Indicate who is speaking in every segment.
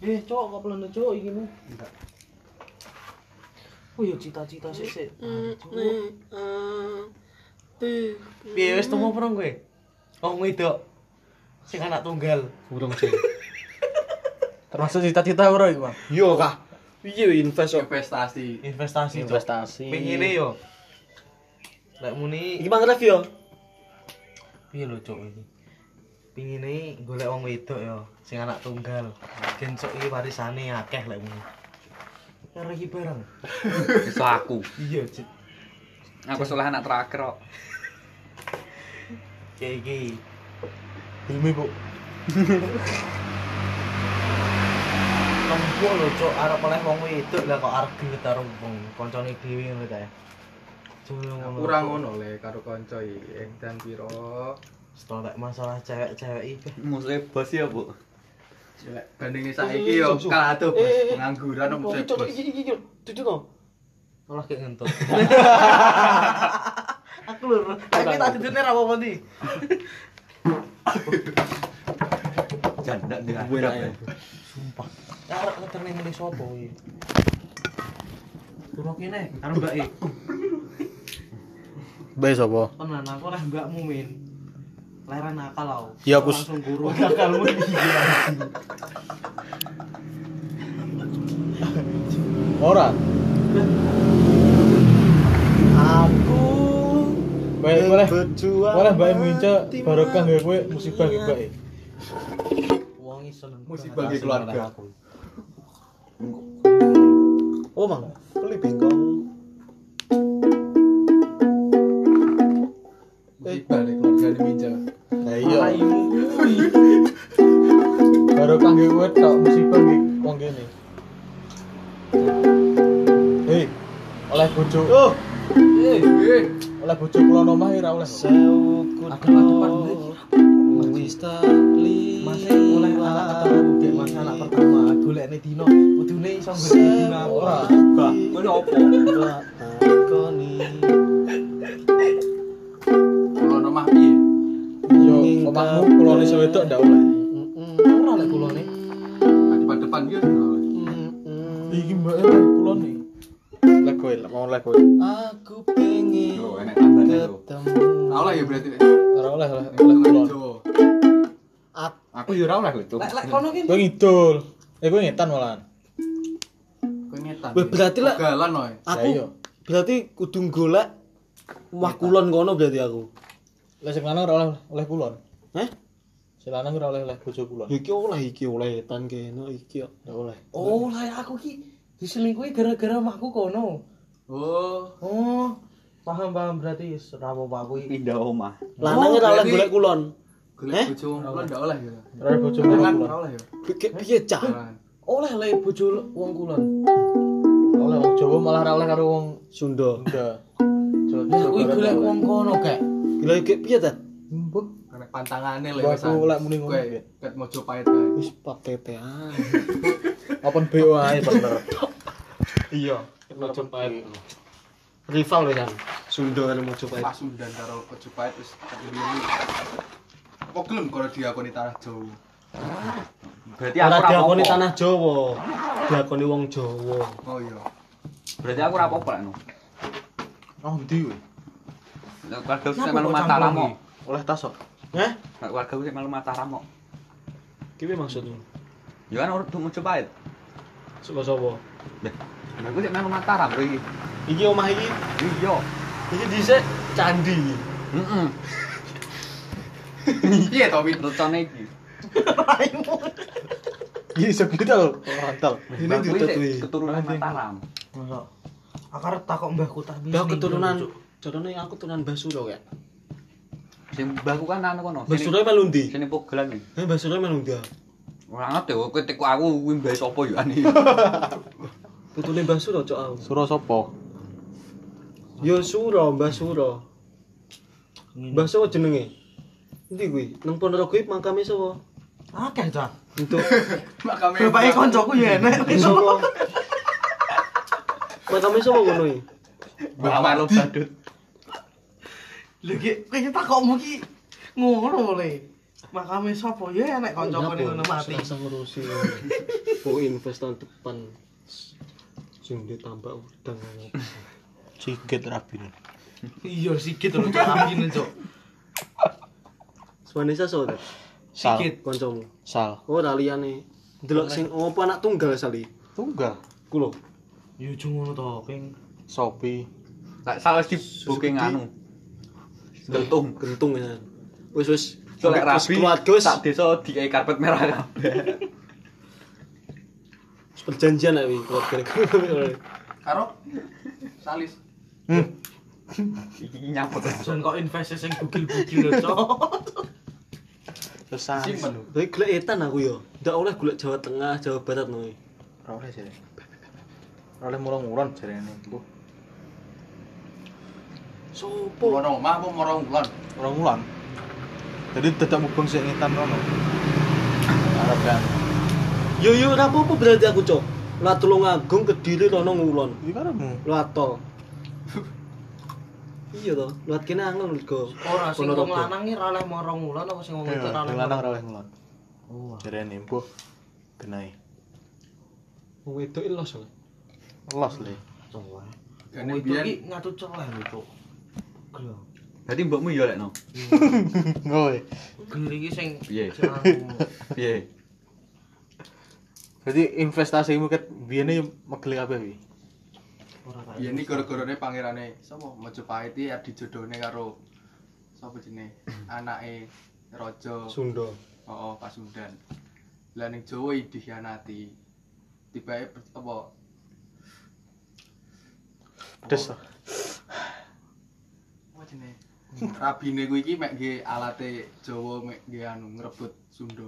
Speaker 1: eh cowok kok pelana cowok iki mah
Speaker 2: Enggak.
Speaker 1: oh yo cita-cita sih sih mm.
Speaker 3: Piye wis temu perang kowe? Wong wedok. Oh, Sing anak tunggal.
Speaker 2: Kurang sih.
Speaker 4: Termasuk cita-cita ora iku, Bang.
Speaker 2: Yo kah. Piye invest kok.
Speaker 5: investasi
Speaker 3: Investasi Cok.
Speaker 4: Investasi.
Speaker 3: Pengine yo. Lek muni
Speaker 2: Iki mang ref yo.
Speaker 3: piye lho cok iki? Pengine golek wong wedok yo sing anak tunggal. Den cok iki warisane akeh lek muni. Karo iki bareng.
Speaker 5: iso aku
Speaker 3: Iya, Cok.
Speaker 5: aku soalnya anak terakhir kok
Speaker 3: kayak iki. Ilmu, Bu. Tempuh lho, Cok, arep oleh wong wedok lah kok arep gelet karo wong koncone dhewe ngono ta. ya.
Speaker 5: kurang ngono le karo kanca iki dan piro
Speaker 3: Setelah tak masalah cewek-cewek iki.
Speaker 6: Musuhnya bos ya, Bu.
Speaker 5: Jelek. bandingin saiki yo kalah tuh bos
Speaker 1: Eh, eh, eh.
Speaker 5: pengangguran om
Speaker 1: oh cowok iki iki iki duduk no
Speaker 3: Malah kayak ngentut. Aku lho, tapi tak dudukne ra apa-apa ndi.
Speaker 6: Janda dengan gue ya.
Speaker 3: Sumpah. Arek ngeterne muni sapa kuwi? Turu kene karo E. mbake.
Speaker 4: Bae sapa?
Speaker 3: Tenan aku oleh mbakmu min. Leran nakal aku.
Speaker 1: Iya,
Speaker 4: Ya, Kus.
Speaker 3: langsung guru nakalmu iya.
Speaker 4: Ora.
Speaker 1: aku
Speaker 4: Bae boleh.
Speaker 1: berjuang
Speaker 4: Boleh bae minca barokah nggawe kowe musibah iki, Mbak.
Speaker 3: Wong iso nang.
Speaker 5: Musibah bagi keluarga.
Speaker 1: oh mang beli bengkong
Speaker 5: balik keluarga di meja
Speaker 4: Lah iya. Barokah nggawe kowe tok musibah nggawe wong kene. Hei, oleh bojo. Oh.
Speaker 3: Eh,
Speaker 4: Oleh bojo kulon omah ya ora oleh.
Speaker 1: sewukut wis tak
Speaker 3: Masih oleh anak ketemu dek masih anak pertama golekne dino kudune iso golek dino aku.
Speaker 4: Ora.
Speaker 5: Ngono opo? Kalau nomah piye?
Speaker 4: Yo, omahmu kulon iso wedok ndak oleh.
Speaker 3: Ora lek kulone.
Speaker 5: Depan depan piye?
Speaker 4: Iki mbak eh kulon nih. Lek kowe lek mau lek kowe.
Speaker 1: aku pengen
Speaker 5: Loh, enak tambahane lho.
Speaker 1: ketemu
Speaker 5: Ora ya berarti. Nek.
Speaker 4: Ora oleh oleh oleh kulon.
Speaker 5: Jawa.
Speaker 1: At-
Speaker 5: Aku ya ora oleh itu.
Speaker 3: Lek lek kono ki
Speaker 4: Kowe ngidul. Eh kowe ngetan malahan.
Speaker 5: Kowe ngetan.
Speaker 1: Weh, berarti lah-
Speaker 5: Galan oi.
Speaker 4: Ya iya.
Speaker 1: aku berarti kudu golek wah kulon kono berarti aku
Speaker 4: Lek sing lanang ora oleh oleh kulon.
Speaker 1: Heh?
Speaker 4: Sing lanang ora oleh oleh bojo kulon.
Speaker 1: iki oleh iki oleh tan kene iki
Speaker 4: Ndak oleh.
Speaker 3: Oh, lah aku ki diselingkuhi gara-gara makku kono.
Speaker 5: Oh,
Speaker 3: Oh, paham paham berarti seramo pak aku iki.
Speaker 6: Pindah omah.
Speaker 1: lanang ora oleh golek kulon Eh?
Speaker 5: golek bojo wong kulon ndak oleh ya.
Speaker 4: Ora oleh bojo kulon.
Speaker 5: Galan ora oleh ya.
Speaker 1: piye piye cah
Speaker 5: Galan.
Speaker 3: Oleh le bojo wong kulon.
Speaker 4: Nggak Oleh wong Jawa malah ora oleh karo wong
Speaker 1: Sunda
Speaker 4: Sunda.
Speaker 3: Lah kuwi golek wong kono kek.
Speaker 1: gila iki piye ta
Speaker 4: Mbok.
Speaker 5: Karena pantangane lho.
Speaker 4: Wah, aku lek muni ngono,
Speaker 5: Kowe
Speaker 4: Bek.
Speaker 5: ket mojo pahit kae.
Speaker 1: wis patetean
Speaker 4: Open BO ae e, bener.
Speaker 3: Iya.
Speaker 1: rival lho kan Sunda karo Majapahit
Speaker 5: Pas Sundan karo mojo pahit wis tak ngene. Apa gelem kalau diakoni tanah Jawa?
Speaker 6: Berarti aku
Speaker 1: ora
Speaker 6: ora
Speaker 1: diakoni
Speaker 6: apa-apa.
Speaker 1: tanah Jawa diakoni wong Jawa
Speaker 5: Oh iya.
Speaker 6: Berarti aku ora apa-apa no.
Speaker 4: Oh ndi kowe?
Speaker 6: Lek keluarga aku
Speaker 3: Kenapa
Speaker 6: sing melu
Speaker 3: kok
Speaker 6: mataram
Speaker 3: campur
Speaker 6: kok.
Speaker 4: Oleh tas kok.
Speaker 1: heh
Speaker 6: Lek keluarga aku sing melu mataram kok.
Speaker 1: piye maksudmu
Speaker 6: Ya kan urut mau coba ya.
Speaker 1: sapa sapa
Speaker 6: Aku sing melu mataram kowe iki.
Speaker 1: iki omah iki
Speaker 6: Iya.
Speaker 1: iki dhisik candi
Speaker 6: Heeh.
Speaker 5: Piye to Win?
Speaker 6: Tutone iki.
Speaker 1: Iya,
Speaker 4: Iki iso
Speaker 1: gitu,
Speaker 4: kita lho. Mantal.
Speaker 6: Ini ditutui. Keturunan mataram.
Speaker 3: Masa aku arep takok mbahku tak bisa.
Speaker 1: dah keturunan jarane aku keturunan Basura ya
Speaker 6: Sing mbahku kan anu kono. sini-
Speaker 1: Basura melu ndi
Speaker 6: Sini pogelan iki.
Speaker 1: heh Basura melu ndi
Speaker 6: Ora ngerti kok kowe teko aku kuwi mbah sapa yo ani.
Speaker 1: putune Basura cok aku
Speaker 4: Suro sapa?
Speaker 1: Yo Sura, Mbah Sura. Mbah sapa jenenge? Endi kuwi? Nang Ponorogo iki makame sapa?
Speaker 3: Akeh ta.
Speaker 1: Untuk
Speaker 5: Makame.
Speaker 3: Bapake koncoku ya enek.
Speaker 1: sapa? makame sapa ngono iki?
Speaker 6: Awal lo badut.
Speaker 3: Lho ki kaya takokmu ki
Speaker 1: Oh,
Speaker 3: ngono le. Makame sapa ya enek koncoku ning ngono mati.
Speaker 1: Langsung ngurusi. mau invest tahun depan sing ditambah udang
Speaker 4: Sikit rapi.
Speaker 3: Iya sikit lho cok amin cok.
Speaker 1: Swanesa sore
Speaker 4: Sal.
Speaker 3: Sikit.
Speaker 1: kancamu Oh,
Speaker 4: Sal.
Speaker 1: ora liyane delok sing opo anak tunggal sali
Speaker 4: Tunggal.
Speaker 1: ku lho
Speaker 3: Yo cok ngono to ping.
Speaker 4: Sopi.
Speaker 6: Tak salah di booking anu. Gentung.
Speaker 1: gentung ya wis wis
Speaker 6: Soalnya
Speaker 1: Wis
Speaker 6: rabi
Speaker 1: keluarga wis
Speaker 6: tak desa dikai karpet merah kabeh.
Speaker 1: perjanjian ae keluarga
Speaker 5: Karo Salis.
Speaker 6: Hmm. Iki nyambut.
Speaker 3: Jan kok investasi sing bugil-bugil lho cok.
Speaker 4: Pesan.
Speaker 5: Simpen.
Speaker 1: tapi golek etan aku yo ndak oleh golek Jawa Tengah Jawa Barat no
Speaker 4: Ora oleh jare. Ora oleh murung-murung jarene iku.
Speaker 1: sopo
Speaker 5: Ono omah apa moro ngulon?
Speaker 4: Ora mulan. Jadi dadak mubeng sik ngetan kono. Arep kan.
Speaker 1: yo yo ora apa-apa berarti aku cok lah tulung agung kediri rono ngulon
Speaker 4: Iki karepmu.
Speaker 1: lewat tol iya toh lewat kene angel menurutku
Speaker 3: Ora sing wong
Speaker 1: Ponorogo.
Speaker 3: lanang iki ora oleh marang wulan apa sing wong
Speaker 4: Iya,
Speaker 3: wedok ora oleh.
Speaker 4: Yang lanang ora oleh mulan.
Speaker 3: Oh.
Speaker 4: Jarene mbuh. Genai.
Speaker 1: wong wedok iki los lho.
Speaker 4: Los le.
Speaker 3: Wah.
Speaker 5: Gane
Speaker 6: Oh,
Speaker 3: Wong itu
Speaker 5: biyen.
Speaker 3: iki ngatu celah lho cok. Gel.
Speaker 6: Berarti mbokmu yo lekno.
Speaker 4: Ngoe.
Speaker 3: Gel iki sing
Speaker 6: Piye?
Speaker 3: celah.
Speaker 6: Piye?
Speaker 4: Jadi investasimu ket biyene yo megeli kabeh wi.
Speaker 3: Ora tak.
Speaker 5: Biyen iki Ya gara-garane pangerane sapa Majapahit iki abdi jodone karo sapa jenenge? Anake raja.
Speaker 1: Sunda
Speaker 5: Heeh, Pasundan. Lah ning Jawa iki dikhianati. Tibae per- apa?
Speaker 4: Pedes. toh.
Speaker 5: Apa jenenge? Rabine kuwi iki mek nggih alate Jawa mek nggih anu ngrebut Sunda.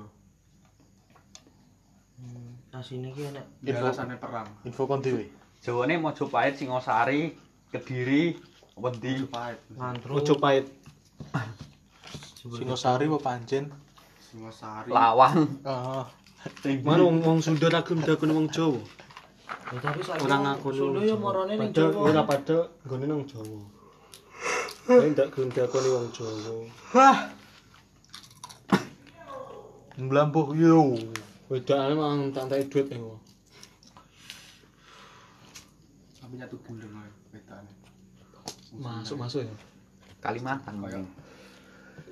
Speaker 3: Asine iki enak.
Speaker 5: Ya
Speaker 4: Info.
Speaker 5: alasane perang.
Speaker 4: Info kon dhewe.
Speaker 6: Jawane Mojopahit, Singosari, Kediri, apa ndi?
Speaker 5: Majapahit.
Speaker 3: Ngantru.
Speaker 1: ojo pahit
Speaker 4: Singosari apa pancen?
Speaker 5: Singosari.
Speaker 6: Lawang.
Speaker 4: Ah,
Speaker 1: mana wong wong Sunda ra gelem dakon wong Jawa
Speaker 3: Ya, tapi saiki
Speaker 1: ora
Speaker 3: wong
Speaker 1: ngaku
Speaker 3: Sunda yo marane ning
Speaker 1: Padahal ora
Speaker 3: Jawa.
Speaker 1: padha nggone nang Jawa tapi ndak gelem dakoni wong Jawa
Speaker 4: mlampah yo.
Speaker 1: wedokane mang tak entek duit e, engko
Speaker 5: Sampe nyatu gendeng ae bedane.
Speaker 1: masuk masuk ya
Speaker 6: Kalimantan. mungkin.
Speaker 5: Kayak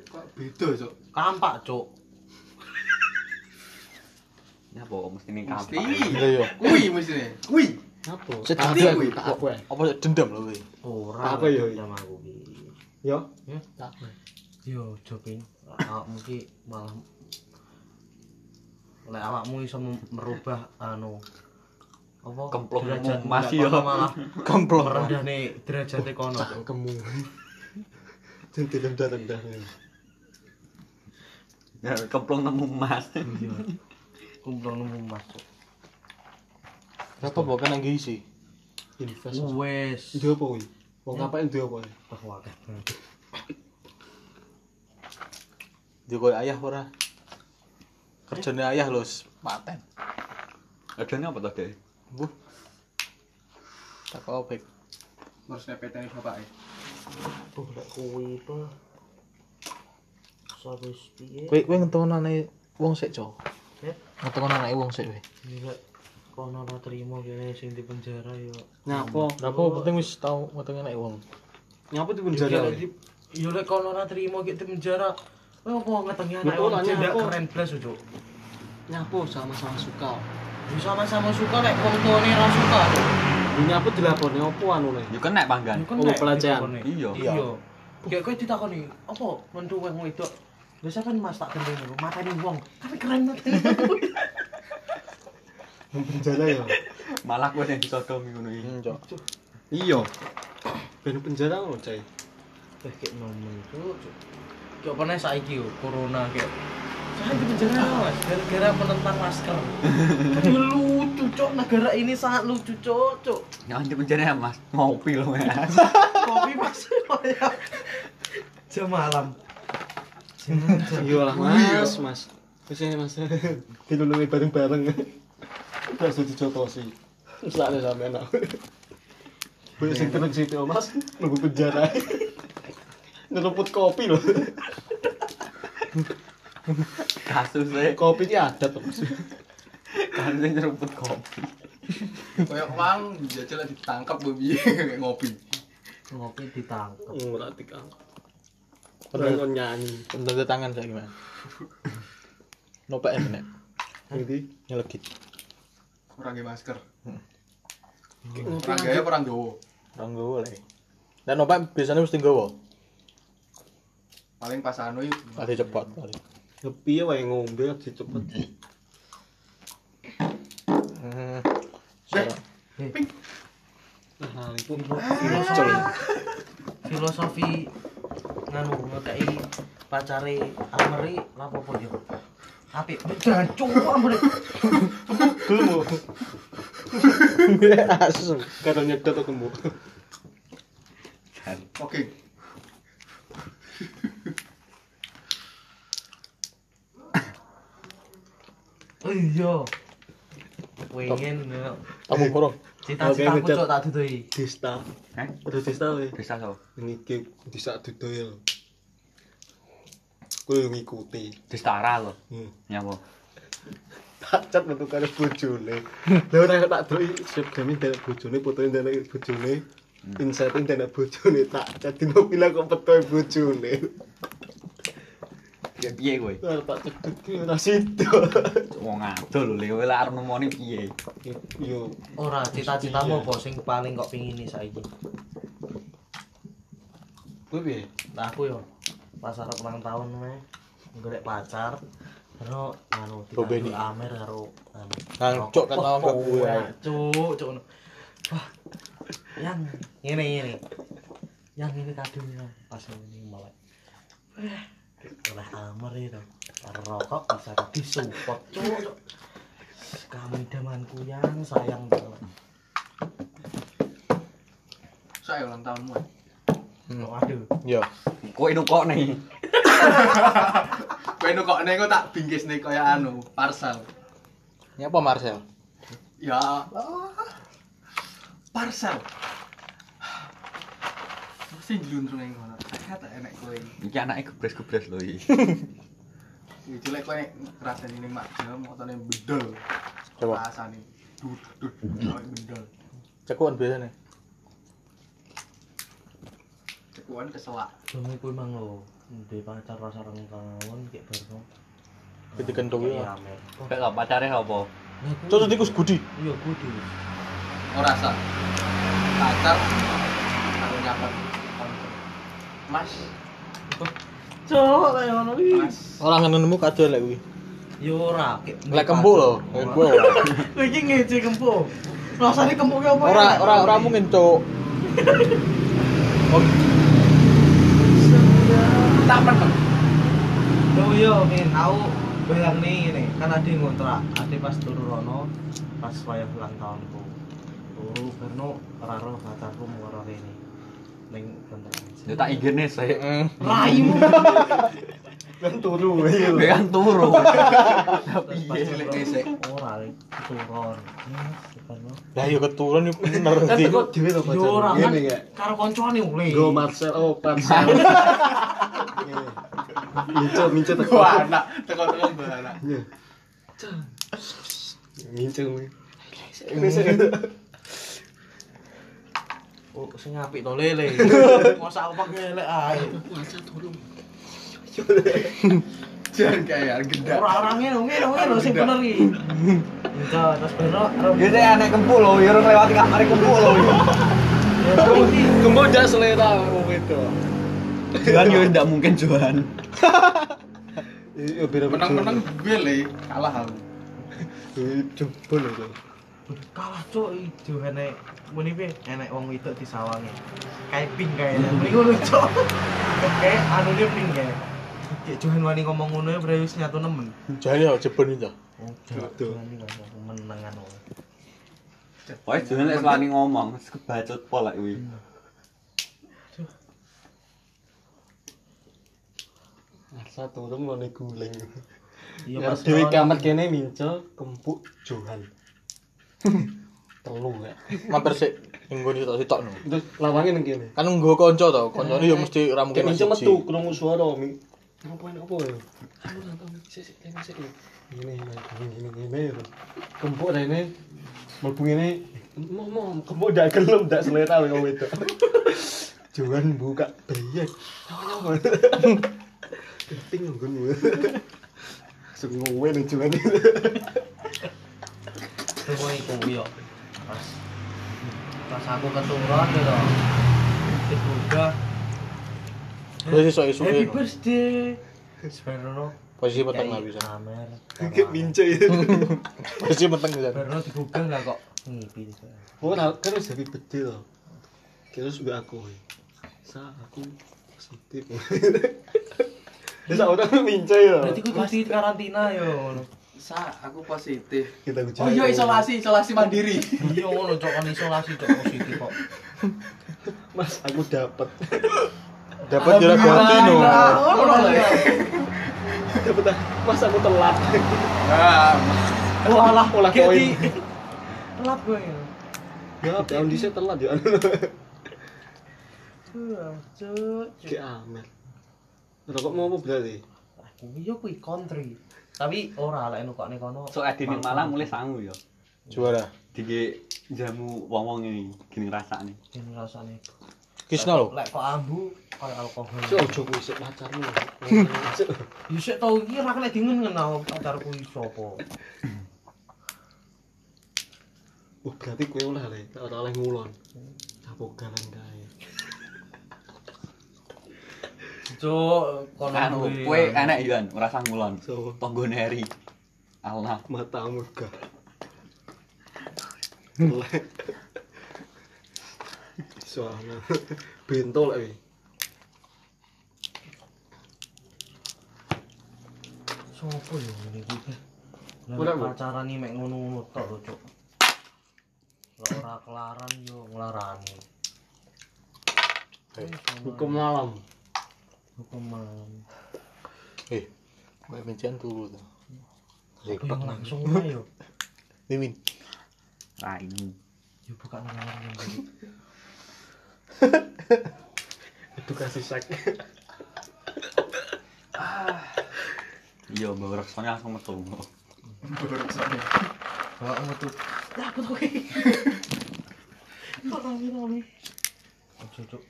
Speaker 5: kok beda, Cok.
Speaker 3: Kampak cok.
Speaker 6: Ya apa mesti ning
Speaker 5: Mesti.
Speaker 6: kampanye.
Speaker 4: Iya, iya.
Speaker 5: Kuwi mesti. Kuwi.
Speaker 1: apa
Speaker 4: Sedang
Speaker 5: Tapi kuwi.
Speaker 1: tak apa ya
Speaker 4: Apa dendam lho kowe?
Speaker 3: Ora.
Speaker 1: Apa yo iki?
Speaker 3: jam aku iki.
Speaker 1: yo
Speaker 3: Ya.
Speaker 1: tak apa
Speaker 3: Yo, Jopin. Awakmu ki malah lek awakmu iso mem- merubah anu apa
Speaker 6: Kemplung
Speaker 3: derajat
Speaker 6: emas
Speaker 3: ndak
Speaker 6: yo.
Speaker 3: kono malah
Speaker 4: Kemplong.
Speaker 3: merendahne derajate kono.
Speaker 1: kemu jentik rendah rendah
Speaker 6: Ya kemplung nemu emas.
Speaker 3: Iya. Kemplung nemu emas. Cuk.
Speaker 4: Berapa mbok kena kan ngisi?
Speaker 1: invest
Speaker 3: Wes.
Speaker 1: duwe apa kuwi wong ngapain duwe apa ya?
Speaker 3: Wah, wakah banget.
Speaker 4: Dia koyo ayah ora. Kerjane ayah lho, s- paten.
Speaker 6: Adane apa to, Dek?
Speaker 4: Mbuh. Tak kau baik.
Speaker 5: Ngurusne petene bapake.
Speaker 3: Tuh Oh, lek kuwi apa? Sabes piye?
Speaker 4: Kowe kowe ngetokno anake wong sik, Cok.
Speaker 3: Eh?
Speaker 4: Ngetokno anake wong sik kowe.
Speaker 3: Lek kono ora trimo kene sing di penjara yo.
Speaker 1: nyapo
Speaker 4: Berapa penting wis tau ngetokno anake wong.
Speaker 1: nyapo di
Speaker 3: Yo
Speaker 1: penjara
Speaker 3: lek di- yo lek kono ora trimo ki di penjara. Wah, apa ngetengi anak
Speaker 1: Betul,
Speaker 3: wong
Speaker 1: aneh
Speaker 3: jendak
Speaker 1: aku.
Speaker 3: keren blas cuk.
Speaker 1: nyapo sama-sama suka
Speaker 3: Yo sama-sama suka lek wong tuane ora suka.
Speaker 1: Yo, nyapo dilapone opo anune
Speaker 6: Yo kena panggan.
Speaker 3: Kan
Speaker 1: Oh, pelecehan.
Speaker 6: kan? Iya.
Speaker 3: Iya. Kayak kowe ditakoni, apa mentu wong wedok? Biasa kan mas tak gendeng aku, mateni wong. Tapi keren banget.
Speaker 1: Nang penjara ya
Speaker 6: Malah kowe sing disodomi ngono iki.
Speaker 4: Hmm, Cok.
Speaker 6: Iya.
Speaker 1: ben penjara ngono cai
Speaker 3: Eh, kayak momen tuh. Kayak pernah saiki yo, corona kayak. Saya di penjara mas, gara-gara menentang masker. Tapi lucu cok, negara ini sangat lucu cok, cok.
Speaker 6: Jangan di penjara ya, Mas. Ngopi lho, Mas.
Speaker 3: Kopi masih banyak. Jam malam. Jam
Speaker 1: Iya lah mas, mas. Wis ini mas. Diluluwi bareng-bareng. Terus dijotosi. Terus lak sampe enak. Boleh sing tenang situ mas, nunggu penjara. Nyeruput kopi loh.
Speaker 6: Kasus
Speaker 1: ya.
Speaker 6: e
Speaker 1: Kopi ini adat loh mas.
Speaker 6: Kan sing nyeruput kopi.
Speaker 5: Kayak mang jajal lagi ditangkap gue biye kayak ngopi.
Speaker 3: ngopi ditangkep
Speaker 2: Ora dikang. Padahal kon nyanyi.
Speaker 4: Tanda tangan saya gimana? Nopak enak.
Speaker 1: Nanti
Speaker 4: Nyelegit.
Speaker 5: Kurang gaya masker.
Speaker 2: Ngopi
Speaker 5: Kurang gaya kurang gawa.
Speaker 4: Orang gue lagi. Dan nopak biasanya mesti gue.
Speaker 5: Paling pas anu yuk.
Speaker 4: Ada cepat paling.
Speaker 1: ngopi ya wae ngombe lagi cepet.
Speaker 4: Hmm.
Speaker 2: Nah, lali pun
Speaker 3: filosofi filosofi nganu ngekei pacare Amri lapo po yo ya? apik jancuk Amri
Speaker 1: Kemu
Speaker 4: Asu.
Speaker 1: karo nyedot aku mu.
Speaker 5: Oke.
Speaker 3: oh iya pengen ya. yo.
Speaker 4: Tamu korong.
Speaker 3: cita-citaku
Speaker 1: Oke, ngecek.
Speaker 3: cok tak dudui
Speaker 1: Desta.
Speaker 6: Heh?
Speaker 1: Udah desta wae.
Speaker 6: Eh? Bisa so.
Speaker 1: Niki bisa dudol. Kuwi yo ngikuti.
Speaker 6: Distara kok.
Speaker 1: Hmm.
Speaker 6: Nyawa.
Speaker 1: Pacat metu karo bojone. Lah ora kok tak doi siap gamin dari bojone, fotone dari bojone. Insetin dari bojone tak cat dino pila kok petoe bojone.
Speaker 6: Ya piye kowe?
Speaker 1: Ora tak cedut ki ora sido.
Speaker 6: Wong adol lho kowe lek arep nemoni piye?
Speaker 1: Yo
Speaker 3: ora cita-citamu apa sing paling kok pingin saiki
Speaker 1: kuwi piye?
Speaker 3: Nah, aku yo pas arep ulang tahun meh golek pacar karo anu
Speaker 4: Bobeni.
Speaker 3: dibantu Amir karo anu
Speaker 4: Nah, cok, kan lawan gak gue.
Speaker 3: Cuk, cuk. ngono. Wah. Yang ngene ngene. Yang ini kadonya pas ini malah. Wah, Oleh Amir itu. Karo Rokok bisa disupport, cuk. cuk. Kamu damanku yang sayang banget.
Speaker 5: Saya ulang tahunmu.
Speaker 3: Waduh.
Speaker 4: Yo.
Speaker 6: Kowe nukok nih.
Speaker 5: Kowe nu kok nek kok tak bingkis nih kaya anu parcel.
Speaker 4: Nyapa Marcel?
Speaker 5: Ya. Parcel. Mesti njluntrung ning kono. Saya tak enek kowe.
Speaker 6: Iki anake gebres-gebres lho iki.
Speaker 5: Iki jelek kowe nek rasane ning makjam motone bedol.
Speaker 4: Coba.
Speaker 5: Rasane dut dut kowe bedol.
Speaker 4: Cekuan biasanya.
Speaker 5: Cekuan keselak.
Speaker 3: Jumi kuwi mang lho, duwe pacar pas orang tahun kayak baru.
Speaker 4: Jadi kentung
Speaker 3: Kayak
Speaker 4: ya.
Speaker 3: Amir.
Speaker 6: Kowe kok pacare apa?
Speaker 3: Nah, aku-
Speaker 4: Cocok tikus gudi.
Speaker 3: Iya, kudu.
Speaker 5: Ora sa. Pacar karo nyapet. Mas,
Speaker 3: Cok, kayak ngono iki.
Speaker 5: mas.
Speaker 4: Orang ngenemu kadal lek kuwi.
Speaker 3: Yo ora, kayak
Speaker 4: Lek kembu lho. Kembu ora.
Speaker 3: Lho iki ngece kempo. Rasane kempo ki apa?
Speaker 4: Ora ora ora mungkin cok. Oh,
Speaker 5: Tak penek.
Speaker 3: Yo yo, pengen tahu bayang nih ini. Kan ada yang ngontrak, ada pas turu rono, pas wayah ulang tahunku. Turu karena ora roh pacarku mau roh ini. Ning
Speaker 6: Yo
Speaker 3: kontrakan.
Speaker 6: tak igene sik.
Speaker 4: mm.
Speaker 3: Raimu.
Speaker 1: Kan turu wae.
Speaker 6: Kowe kan turu.
Speaker 3: Terus pas
Speaker 5: Iya, jelek dhisik.
Speaker 3: Ora, turun. Karena
Speaker 4: Lah yo keturun yo bener
Speaker 1: Kan
Speaker 4: sih.
Speaker 1: kok dhewe to pacar.
Speaker 3: Yo ora kan
Speaker 1: Ngene ya.
Speaker 3: karo koncone ule.
Speaker 1: Go Marcel, oh Marcel.
Speaker 3: Iya.
Speaker 1: Mincet, mincet aku.
Speaker 5: Wah, anak teko-teko mbah anak.
Speaker 1: Iya. Mincet kuwi.
Speaker 3: Oh, sing apik to lele. Masa aku pakai elek ae.
Speaker 5: Jangan kayak gendak.
Speaker 3: Ora ora ngene, ngene ngene sing bener iki. Entar terus beno karo
Speaker 6: Yo sik anek kempul lho, yo orang lewati kamare kempul lho.
Speaker 1: Kembo jas selera wong itu.
Speaker 6: Johan yo ndak mungkin Johan.
Speaker 1: Yo beda
Speaker 5: Menang-menang gue le kalah aku.
Speaker 1: jebol lho.
Speaker 3: kalah cuk ijo enek muni piye enek wong wedok disawangi. Kayak ping kae. Muni ngono cuk. Kayak anune ping kae. Cek Johan wani ngomong ngono ya berarti wis nyatu nemen.
Speaker 4: Jane yo jebon itu.
Speaker 3: Oh, Johan iki gak menengan wong.
Speaker 6: Wah, Johan lek wani ngomong, terus kebacut pol lek kuwi.
Speaker 1: Masa turu ngene guling.
Speaker 3: Iya
Speaker 1: Ya
Speaker 3: pas
Speaker 1: dhewe
Speaker 3: lawan-
Speaker 1: kamar kene mincet kempuk Johan. Telu ya.
Speaker 4: Mampir sik nggo sitok sitok no.
Speaker 1: Terus lawange ning kene.
Speaker 4: Kan nggo kanca to, kancane yo mesti ora mungkin
Speaker 1: Kene mincet
Speaker 4: siji.
Speaker 1: metu krungu swara mi. Apa ini apa ya? Aku nggak tahu. Sik, sik, tengok, sik, ya. Ini, ini, ini, ini, ini, ya. Kempuk dah ini. Mlebu ngene. Mau mau kempuk ndak gelem ndak selera kowe wedok. Jangan buka bayar. Nyawa-nyawa. Ting nggonmu. Sing ngowe nang jangan.
Speaker 3: Semua iku yo. Pas pas aku keturun ya, yo to. Dibuka.
Speaker 4: Terus iso isu
Speaker 3: Happy birthday. Sebenarnya
Speaker 4: posisi peteng nggak bisa.
Speaker 3: Kamer.
Speaker 1: Kayak mince ya.
Speaker 4: Posisi peteng bisa.
Speaker 3: Sebenarnya dibuka nggak kok. Ngipi.
Speaker 1: Ora kan wis jadi bedhe to. Terus mbak aku. Sa aku positif. Terus orang mince ya.
Speaker 3: Berarti kudu di karantina yo ngono.
Speaker 5: Sa, aku positif.
Speaker 1: Kita ucapin.
Speaker 5: Oh iya isolasi, isolasi mandiri.
Speaker 3: Iya ngono cok kan isolasi cok positif kok.
Speaker 1: Mas, aku dapat.
Speaker 4: Dapat jarak kontinu.
Speaker 5: Ngono lah ya.
Speaker 1: dapat ah. Mas aku telat.
Speaker 5: Ah,
Speaker 3: Oh,
Speaker 1: Olah lah, olah
Speaker 3: Jadi
Speaker 1: koin.
Speaker 3: telat gue ya.
Speaker 1: Ya, tahun dhisik telat ya.
Speaker 3: Wah, Cuk.
Speaker 1: Ki amat. Rokok mau apa berarti?
Speaker 3: Aku yo kuwi country. Tapi ora lek nukokne kono.
Speaker 6: So edine malah mulai sangu ya.
Speaker 4: Juara.
Speaker 6: Dike jamu wong-wong ini gini rasane.
Speaker 3: Ini rasane.
Speaker 4: Kisna lo.
Speaker 3: Lek kok ambu kayak alkohol.
Speaker 1: Cuk, ojo kuwi sik pacarmu. Cuk,
Speaker 3: Ya sik tau iki ora kena dingin kenal pacarku iki sapa.
Speaker 1: Oh, berarti kowe oleh le, tak ora oleh ngulon. Apa galan kae?
Speaker 3: Cuk, kono
Speaker 6: Anu, kowe enak Yuan, ora sangulon.
Speaker 1: So,
Speaker 6: Tonggone Eri. Allah.
Speaker 1: mata murka. Lek. Soalnya bentol lek iki.
Speaker 3: Sopo yo ngene iki?
Speaker 1: Ora,
Speaker 3: Nek
Speaker 1: Bu.
Speaker 3: pacaran iki mek ngono-ngono tok lho, Cuk. Lek ora kelaran yo nglarani. Wis,
Speaker 1: Hukum malam.
Speaker 3: hukum malam.
Speaker 4: Eh. Mbak Vincian turu tuh.
Speaker 3: Apa yang langsung lah yo.
Speaker 4: Mimin.
Speaker 6: Raimu.
Speaker 3: Yo buka nang ngene.
Speaker 1: Edukasi seks.
Speaker 6: Iya, mbok reksone langsung metu.
Speaker 3: Bawa metu. Takut kowe. Kok nang ngene? Ojo, Cuk.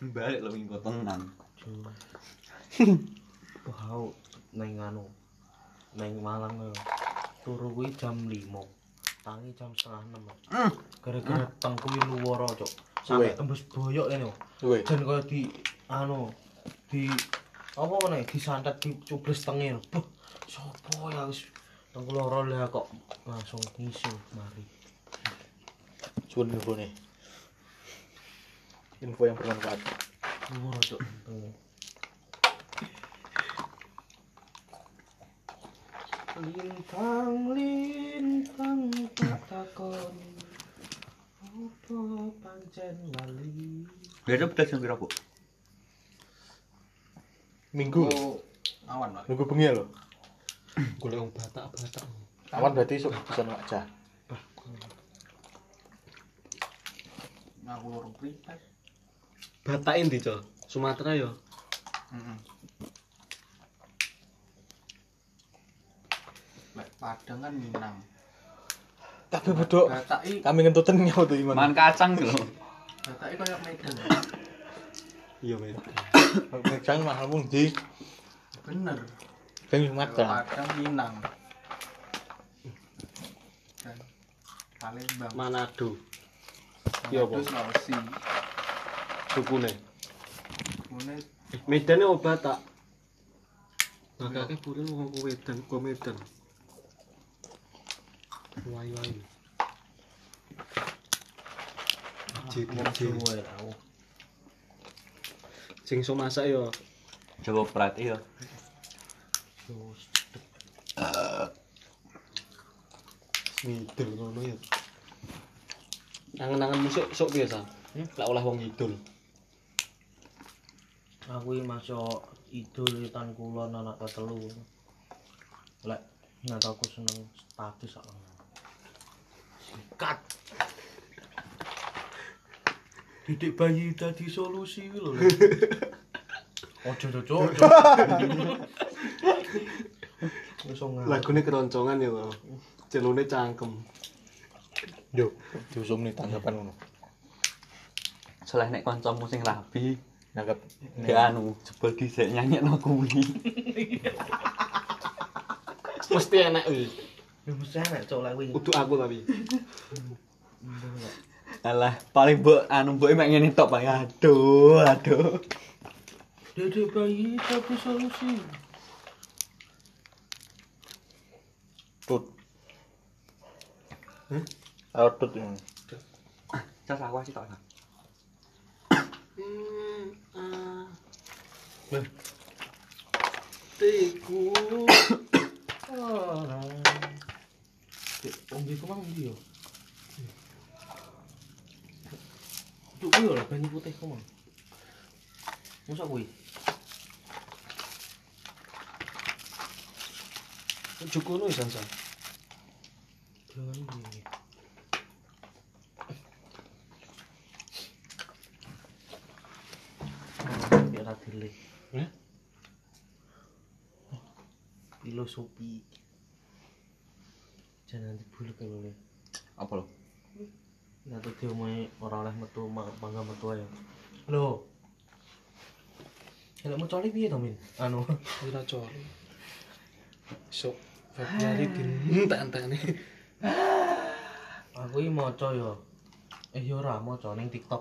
Speaker 6: Balik lu minggu tenang.
Speaker 3: Wow, neng anu. Neng Malang lho. Turu kuwi jam 5. Tangi jam setengah 6. Gara-gara tengkuwi luwara, Cuk. Sampai
Speaker 4: Weh.
Speaker 3: tembus boyok ngene.
Speaker 4: Woi.
Speaker 3: Dan kaya di anu di apa ngene disantet dicublis tengi. lho. Beh, sapa ya wis tengku loro lah kok langsung ngisu mari.
Speaker 4: Cuma info nih. Info yang bermanfaat.
Speaker 3: Luwara, Cuk. Tengi. Lintang lintang tak takon Apa pancen lali
Speaker 6: Biasa pedas yang kira, Bu.
Speaker 4: Minggu.
Speaker 5: Oh, awan lah.
Speaker 4: Minggu bengi ya lo.
Speaker 1: Golek wong batak-batak.
Speaker 4: Awan berarti esok bisa nolak aja.
Speaker 5: Ngaku lorong privat.
Speaker 1: Batak endi, Cok? Sumatera ya.
Speaker 5: Heeh. Lek Padang kan Minang.
Speaker 4: Tapi bodoh.
Speaker 5: Batak i,
Speaker 4: Kami ya, ngentutin nyawa tuh
Speaker 6: Makan
Speaker 4: gimana?
Speaker 6: kacang lho.
Speaker 5: batak i koyo Medan.
Speaker 1: Iya, men.
Speaker 4: Jangan mahal pun di.
Speaker 5: Bener.
Speaker 4: Jangan
Speaker 5: Lek
Speaker 4: mata.
Speaker 5: Padang Minang. Dan Palembang.
Speaker 1: Manado, iya,
Speaker 5: Terus Sulawesi.
Speaker 1: sukune.
Speaker 5: Mune
Speaker 1: Medan obat tak. Bakake puril wong ku Medan, ku Medan. Wayu-wayu. Jadi
Speaker 3: Jawa ya aku
Speaker 1: sing iso masak ya
Speaker 6: Coba perhati ya.
Speaker 3: Terus
Speaker 1: ngidul ngono ya. Angen-angen musik sok biasa.
Speaker 3: Hmm?
Speaker 1: Lek oleh wong ngidul.
Speaker 3: aku ini masuk idul tan kulon anak ketelu Lek nggak aku seneng status aku Sikat Didik bayi tadi solusi lho Lek. Ojo cocok.
Speaker 4: Wis ngawur.
Speaker 1: Lagune keroncongan ya to. Celone cangkem.
Speaker 4: Yo, diusum nih tanggapan ngono.
Speaker 6: Soalnya nek kancamu sing rapi,
Speaker 4: Nanggap. Ya,
Speaker 6: gak anu jebol dhisik nyanyi no kuwi.
Speaker 1: Mesti enak eh. kuwi.
Speaker 3: Ya mesti enak cok lek kuwi.
Speaker 1: Kudu aku tapi.
Speaker 6: Alah, paling mbok anu mbok mek ngene tok paling aduh, aduh.
Speaker 3: Dedek bayi tapi solusi.
Speaker 4: Tut. Hmm? Ayo tut ini.
Speaker 6: Cas aku sih tok.
Speaker 2: Tiku.
Speaker 3: Ờ, Ombe ku mang ndi yo? Tuh kuwi ora banyu putih ku mang. Mosok kuwi.
Speaker 2: Ojo kono isan san.
Speaker 3: Jangan ini. Ya ora dilih.
Speaker 2: Eh?
Speaker 3: Filosofi. Jangan dibulek kalau ya.
Speaker 6: Apa lo?
Speaker 3: Nanti dia mau orang oleh metu ma- mangga metu aja. Lo. Kalau mau coli piye to, Min? Anu,
Speaker 2: Ora cori. Sok Februari dinten-tentene.
Speaker 3: aku iki maca ya. Eh ya ora maca ning TikTok.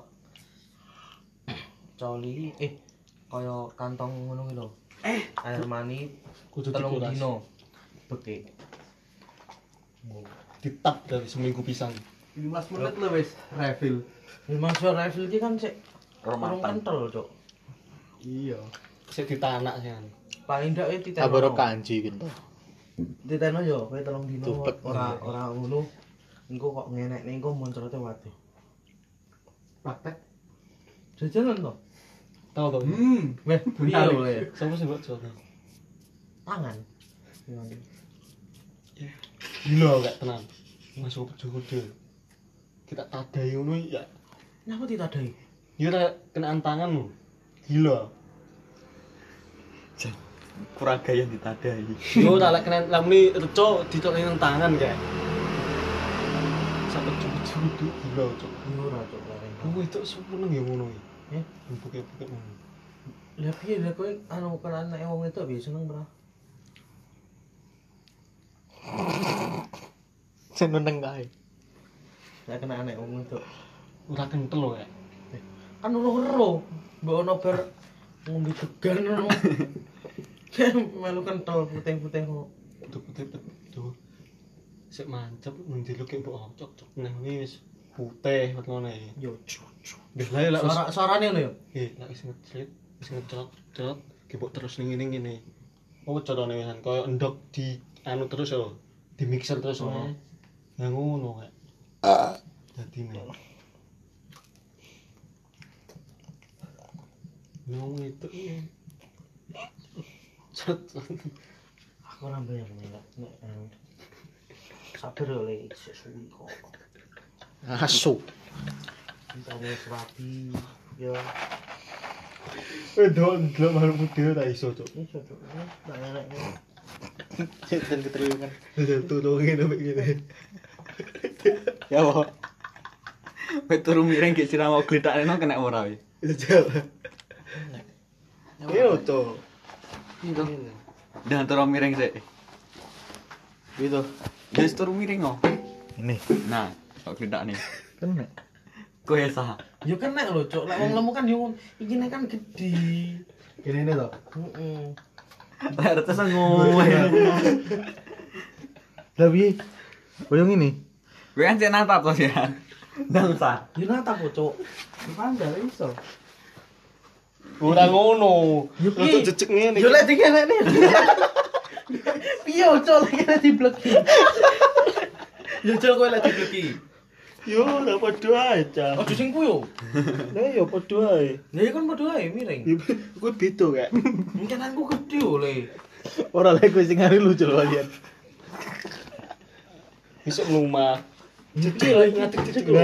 Speaker 3: Coli eh kaya kantong ngono ki lho. Eh, air mani
Speaker 1: Kudu
Speaker 3: telung
Speaker 1: dikuras.
Speaker 3: dino. Bekek.
Speaker 1: Ditap dari seminggu pisang.
Speaker 5: 15 menit lo wis refill.
Speaker 3: Memang suara rifle Eh, iki kan sik kurang
Speaker 6: Romatan.
Speaker 3: kental, Cok.
Speaker 5: Iya.
Speaker 1: Sik ditanak sih.
Speaker 3: Paling ndak eh titeno.
Speaker 4: Aboro kanji gitu.
Speaker 3: Titeno yo kowe telung dino
Speaker 4: Tupet
Speaker 3: ora
Speaker 4: ngono.
Speaker 3: ora ngono. Engko kok ngenek ning engko moncrote waduh.
Speaker 5: Praktek.
Speaker 3: Jajanan to.
Speaker 1: Tahu to.
Speaker 5: Hmm.
Speaker 3: Weh, iya
Speaker 5: menarik.
Speaker 3: weh.
Speaker 1: Sopo sih mbok Joko?
Speaker 3: Tangan.
Speaker 1: Gila gak tenang. Masuk ke Joko dhewe. Kita tadai ngono ya.
Speaker 3: Kenapa tidak ada?
Speaker 1: Ya ora kenaan tanganmu. Gila.
Speaker 6: Kurang gaya ditadai.
Speaker 1: Yo ora lek kena lamuni reco ditokne nang tangan kae. Sampai cucu-cucu gila Oh, cok.
Speaker 3: Ya ora cok lareng.
Speaker 1: Kowe itu seneng ya ngono iki.
Speaker 3: Eh?
Speaker 1: buke-buke ngono.
Speaker 3: Lah piye lah kowe anu kenalan nek wong itu biasa seneng ora?
Speaker 4: Seneng kae.
Speaker 3: Nek kena anak wong itu.
Speaker 1: Ora kental lho kae.
Speaker 3: Kan ono ero. Mbok ono bar ngombe degan ono. Kan melu kental putih-putih kok.
Speaker 1: Putih-putih tuh. Sik mancep nang jero kek mbok cok cok nang ini wis putih warnane.
Speaker 3: Yo cok.
Speaker 1: Lah lek wis
Speaker 3: Suara suarane ngono yo.
Speaker 1: eh lek wis ngecrit, wis ngecrot-crot ki mbok terus ning ngene ngene. Apa carane wisan koyo endok di anu terus lho. Di mixer terus lho. Ya ngono kae. Dadi nih. Ngomong itu iya. Cet.
Speaker 3: Aku ora bayar nek nek anu. Sabar yo le sesuwi kok.
Speaker 4: Asu.
Speaker 3: Entane serabi yo.
Speaker 1: Wedok ndelok makhluk putih ora iso, Cuk.
Speaker 3: Ini cocok. Nek enak ini.
Speaker 4: Dan ketriungan.
Speaker 1: Dadi tulungin ame ngene.
Speaker 6: Ya apa? Wek turu mireng gek siram mau glitakne no kena ora wi.
Speaker 1: Jajal. Iya, lho, Cuk.
Speaker 6: Dan turu miring sik.
Speaker 4: Gitu.
Speaker 6: Ya wis turu miring no.
Speaker 4: Ini.
Speaker 6: Nah, kok glitakne. Kan
Speaker 4: Kena.
Speaker 6: Kowe sah.
Speaker 3: Yo kena lho cok. Lek wong lemu kan yo iki nek kan gede.
Speaker 5: Gini ini toh.
Speaker 3: Heeh.
Speaker 6: Lek retes ngomong.
Speaker 4: Lah piye? Koyo ngene.
Speaker 6: Kowe kan sik natap to sih. Ndang sah.
Speaker 3: Yo nata kok cok.
Speaker 5: Depan gak iso.
Speaker 1: Ora ngono.
Speaker 3: Yo
Speaker 1: Lho, Cuk, jejeg ngene.
Speaker 3: Yo lek iki enak nih. Piye cok lek kena dibleki. Yo cok kowe lek dibleki.
Speaker 1: Yo, ora padha ae, Cuk.
Speaker 3: Ojo sing ku yo.
Speaker 1: Lah ya padha ae.
Speaker 3: Lah iki kan padha ae miring.
Speaker 1: Kuwi beda, Kak.
Speaker 3: Mungkinanku gede yo le.
Speaker 4: Ora lek kowe sing ngari lucu lho lihat.
Speaker 1: Besok ngumah. Jadi
Speaker 4: Nah.
Speaker 1: lagi ngatik titik lho.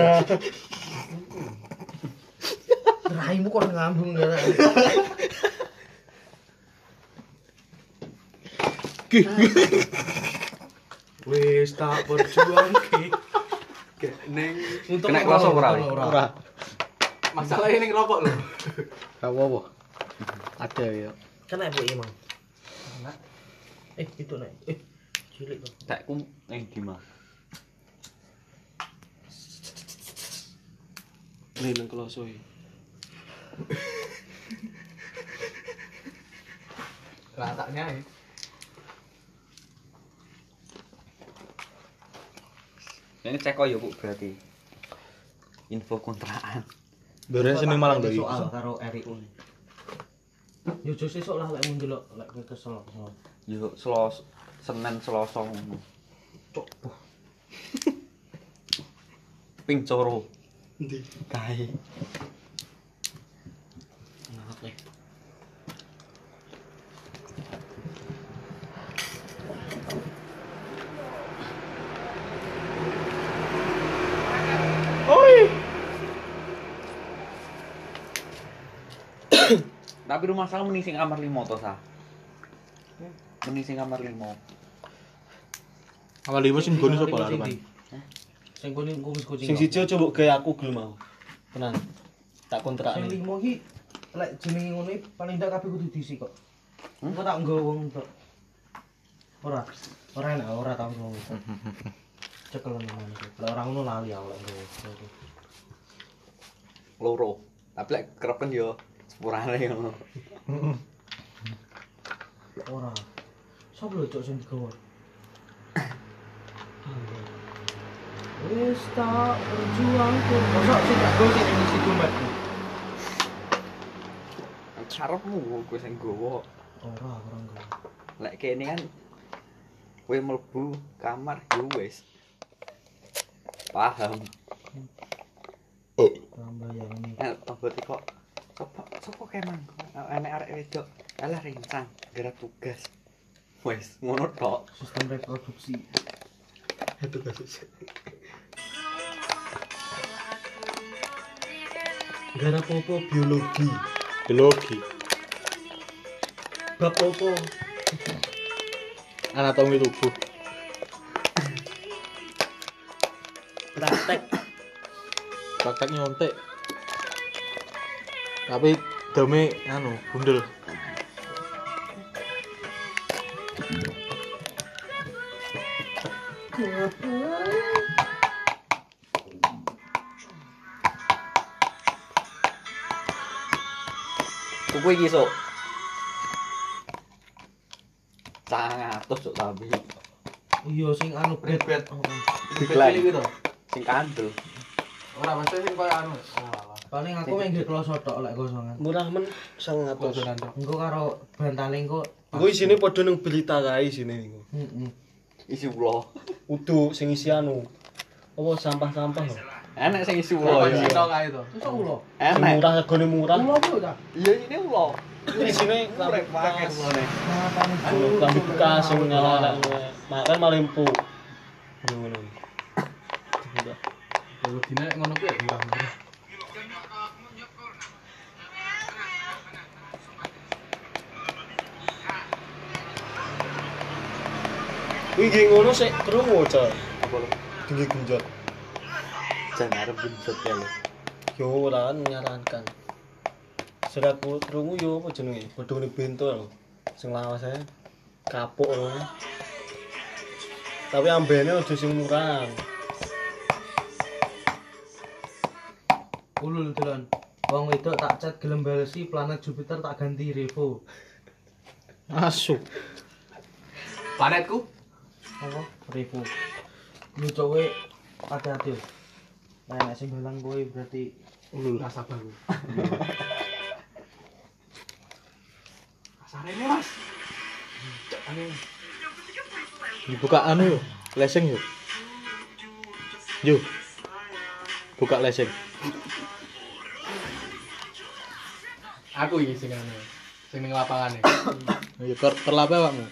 Speaker 3: Raimu kok ngambung gara. Wis tak perjuang ki.
Speaker 5: Neng
Speaker 3: Untuk
Speaker 6: Kena kelas apa ora, Wi?
Speaker 1: Ora.
Speaker 5: masalahnya neng rokok lho.
Speaker 1: Gak apa-apa. Ada ya.
Speaker 3: Kena ibu emang. Eh itu nek. Eh cilik kok.
Speaker 6: Tak kum eh gimana?
Speaker 2: Nih nang kloso iki.
Speaker 5: Lah tak nyai.
Speaker 6: Ini cek kok ya Bu berarti. Info kontrakan.
Speaker 4: Dore sini Malang to iki.
Speaker 3: Soal karo RIU. Yo jos sesuk lah lek mung delok lek kowe kesel.
Speaker 6: Yo selos Senin Selasa ngono.
Speaker 3: Cok.
Speaker 6: Ping coro.
Speaker 1: Ndi?
Speaker 6: Kae.
Speaker 3: Ngawak Nah, lek.
Speaker 6: Tapi rumah saya mending sing kamar 5 to, Sa. Mending sing kamar 5.
Speaker 4: Awal lima sing bonus apa lah Rupan?
Speaker 3: Sing kuwi kumis kucing.
Speaker 1: Sing siji coba kayak aku gelem mau. Tenan. Tak kontrak
Speaker 3: Sing limo iki lek jenenge ngono iki paling ndak kabeh kudu diisi kok. Engko tak nggawa wong tok. Ora. Ora enak ora tak nggawa. wong tok. Cekel ngono. Lek ora ngono lali aku lek nggawa.
Speaker 6: Loro. Tapi lek kerepen yo sepurane ngono.
Speaker 3: Ora. Sopo lho cok sing digawa? Wis tak berjuang pun.
Speaker 5: Mosok sing gak go sing ngisi kumat.
Speaker 6: Karepmu kowe sing gowo.
Speaker 3: Ora, ora nggawa.
Speaker 6: Lek kene kan kowe mlebu kamar yo wis. Paham.
Speaker 3: Tambah ya ini.
Speaker 6: Eh, berarti kok sopo sopo kayak mang enek arek wedok alah rincang gerak tugas wes ngono tok
Speaker 3: Sistem reproduksi.
Speaker 1: Itu kasus. Gara popo biologi.
Speaker 4: Biologi,
Speaker 1: Bab popo.
Speaker 4: anatomi tubuh.
Speaker 3: Praktek.
Speaker 4: praktek nyontek tapi dome anu bundel
Speaker 6: kuku iki sok sangatus sok tapi
Speaker 3: Iya sing anu
Speaker 5: Red bed.
Speaker 6: Diklaim.
Speaker 5: Cilik itu.
Speaker 6: sing kandel
Speaker 5: gitu. Ora mesti sing koyo anu. Alah.
Speaker 3: Paling aku menggek kloso tok lek kosongan.
Speaker 1: Murah men
Speaker 5: Kok
Speaker 1: 900.
Speaker 5: donan tok.
Speaker 3: Engko karo bantaling kok.
Speaker 1: Gue isine padha nang berita kae isine niku.
Speaker 3: Heeh.
Speaker 6: isi ulo
Speaker 1: Udu sing isi anu. Apa sampah-sampah lho.
Speaker 6: enek sing isi ulo
Speaker 5: Kok
Speaker 6: ya
Speaker 5: Cina kae to.
Speaker 3: Terus ulo.
Speaker 1: Sing
Speaker 6: enek
Speaker 1: murah regane murah.
Speaker 3: Ulo apa udah?
Speaker 6: iya ini ulo
Speaker 1: Ini isine
Speaker 6: urip pakai
Speaker 1: bekas.
Speaker 6: ulone
Speaker 3: Kenapa nih?
Speaker 1: Anu klambi bekas sing nyala Makan malah empuk. Ngono. Murah.
Speaker 5: Yo dine ngono kuwi ya murah-murah.
Speaker 1: Iki ngono sik krungu, Cok.
Speaker 6: apa lo
Speaker 1: Tinggi genjot.
Speaker 6: jangan arep benjot ya lo
Speaker 1: Yo ora nyarankan. Serat krungu yo apa jenenge? Padha ngene bento lho. Sing lawas ae. Kapuk lho. Tapi ambene aja sing murah.
Speaker 3: Ulul dolan. Wong wedok tak cat gelem balesi planet Jupiter tak ganti Revo.
Speaker 4: asu
Speaker 5: Planetku
Speaker 3: Apa? Revo. Lu cowe hati-hati. yo. Nah, nek sing balang kowe berarti
Speaker 5: ulul nasabah gue. Kasar ini mas. Cek angin.
Speaker 4: dibuka anu yuk leseng yuk yuk buka leseng
Speaker 5: Aku ini sing anu. Sing ning lapangan nih.
Speaker 4: yuk ker kerlape wakmu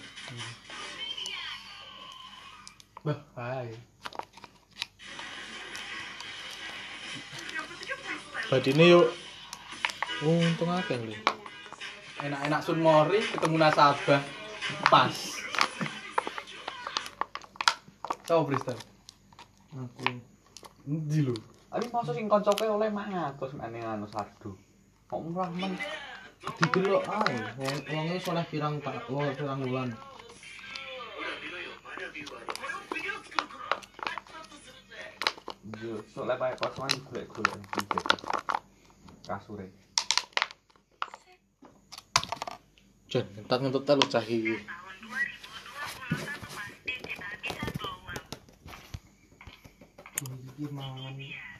Speaker 5: Bah, hai.
Speaker 4: badine yuk Oh, untung akeh lho.
Speaker 5: Enak-enak Sun Mori ketemu nasabah. Pas. Tahu freestyle.
Speaker 3: Aku.
Speaker 5: Ndi lho.
Speaker 6: Tapi masa sing konco kowe oleh mah aku semene anu sardu. Kok murah men.
Speaker 3: Didelok ae. Wong- Wonge soleh pirang tak, wong pirang wulan.
Speaker 6: Yo, soalnya pakai kosokan golek-golek iki. Kasure.
Speaker 4: Jan, ngentat ngentot lu cah iki.
Speaker 3: Iki mangan.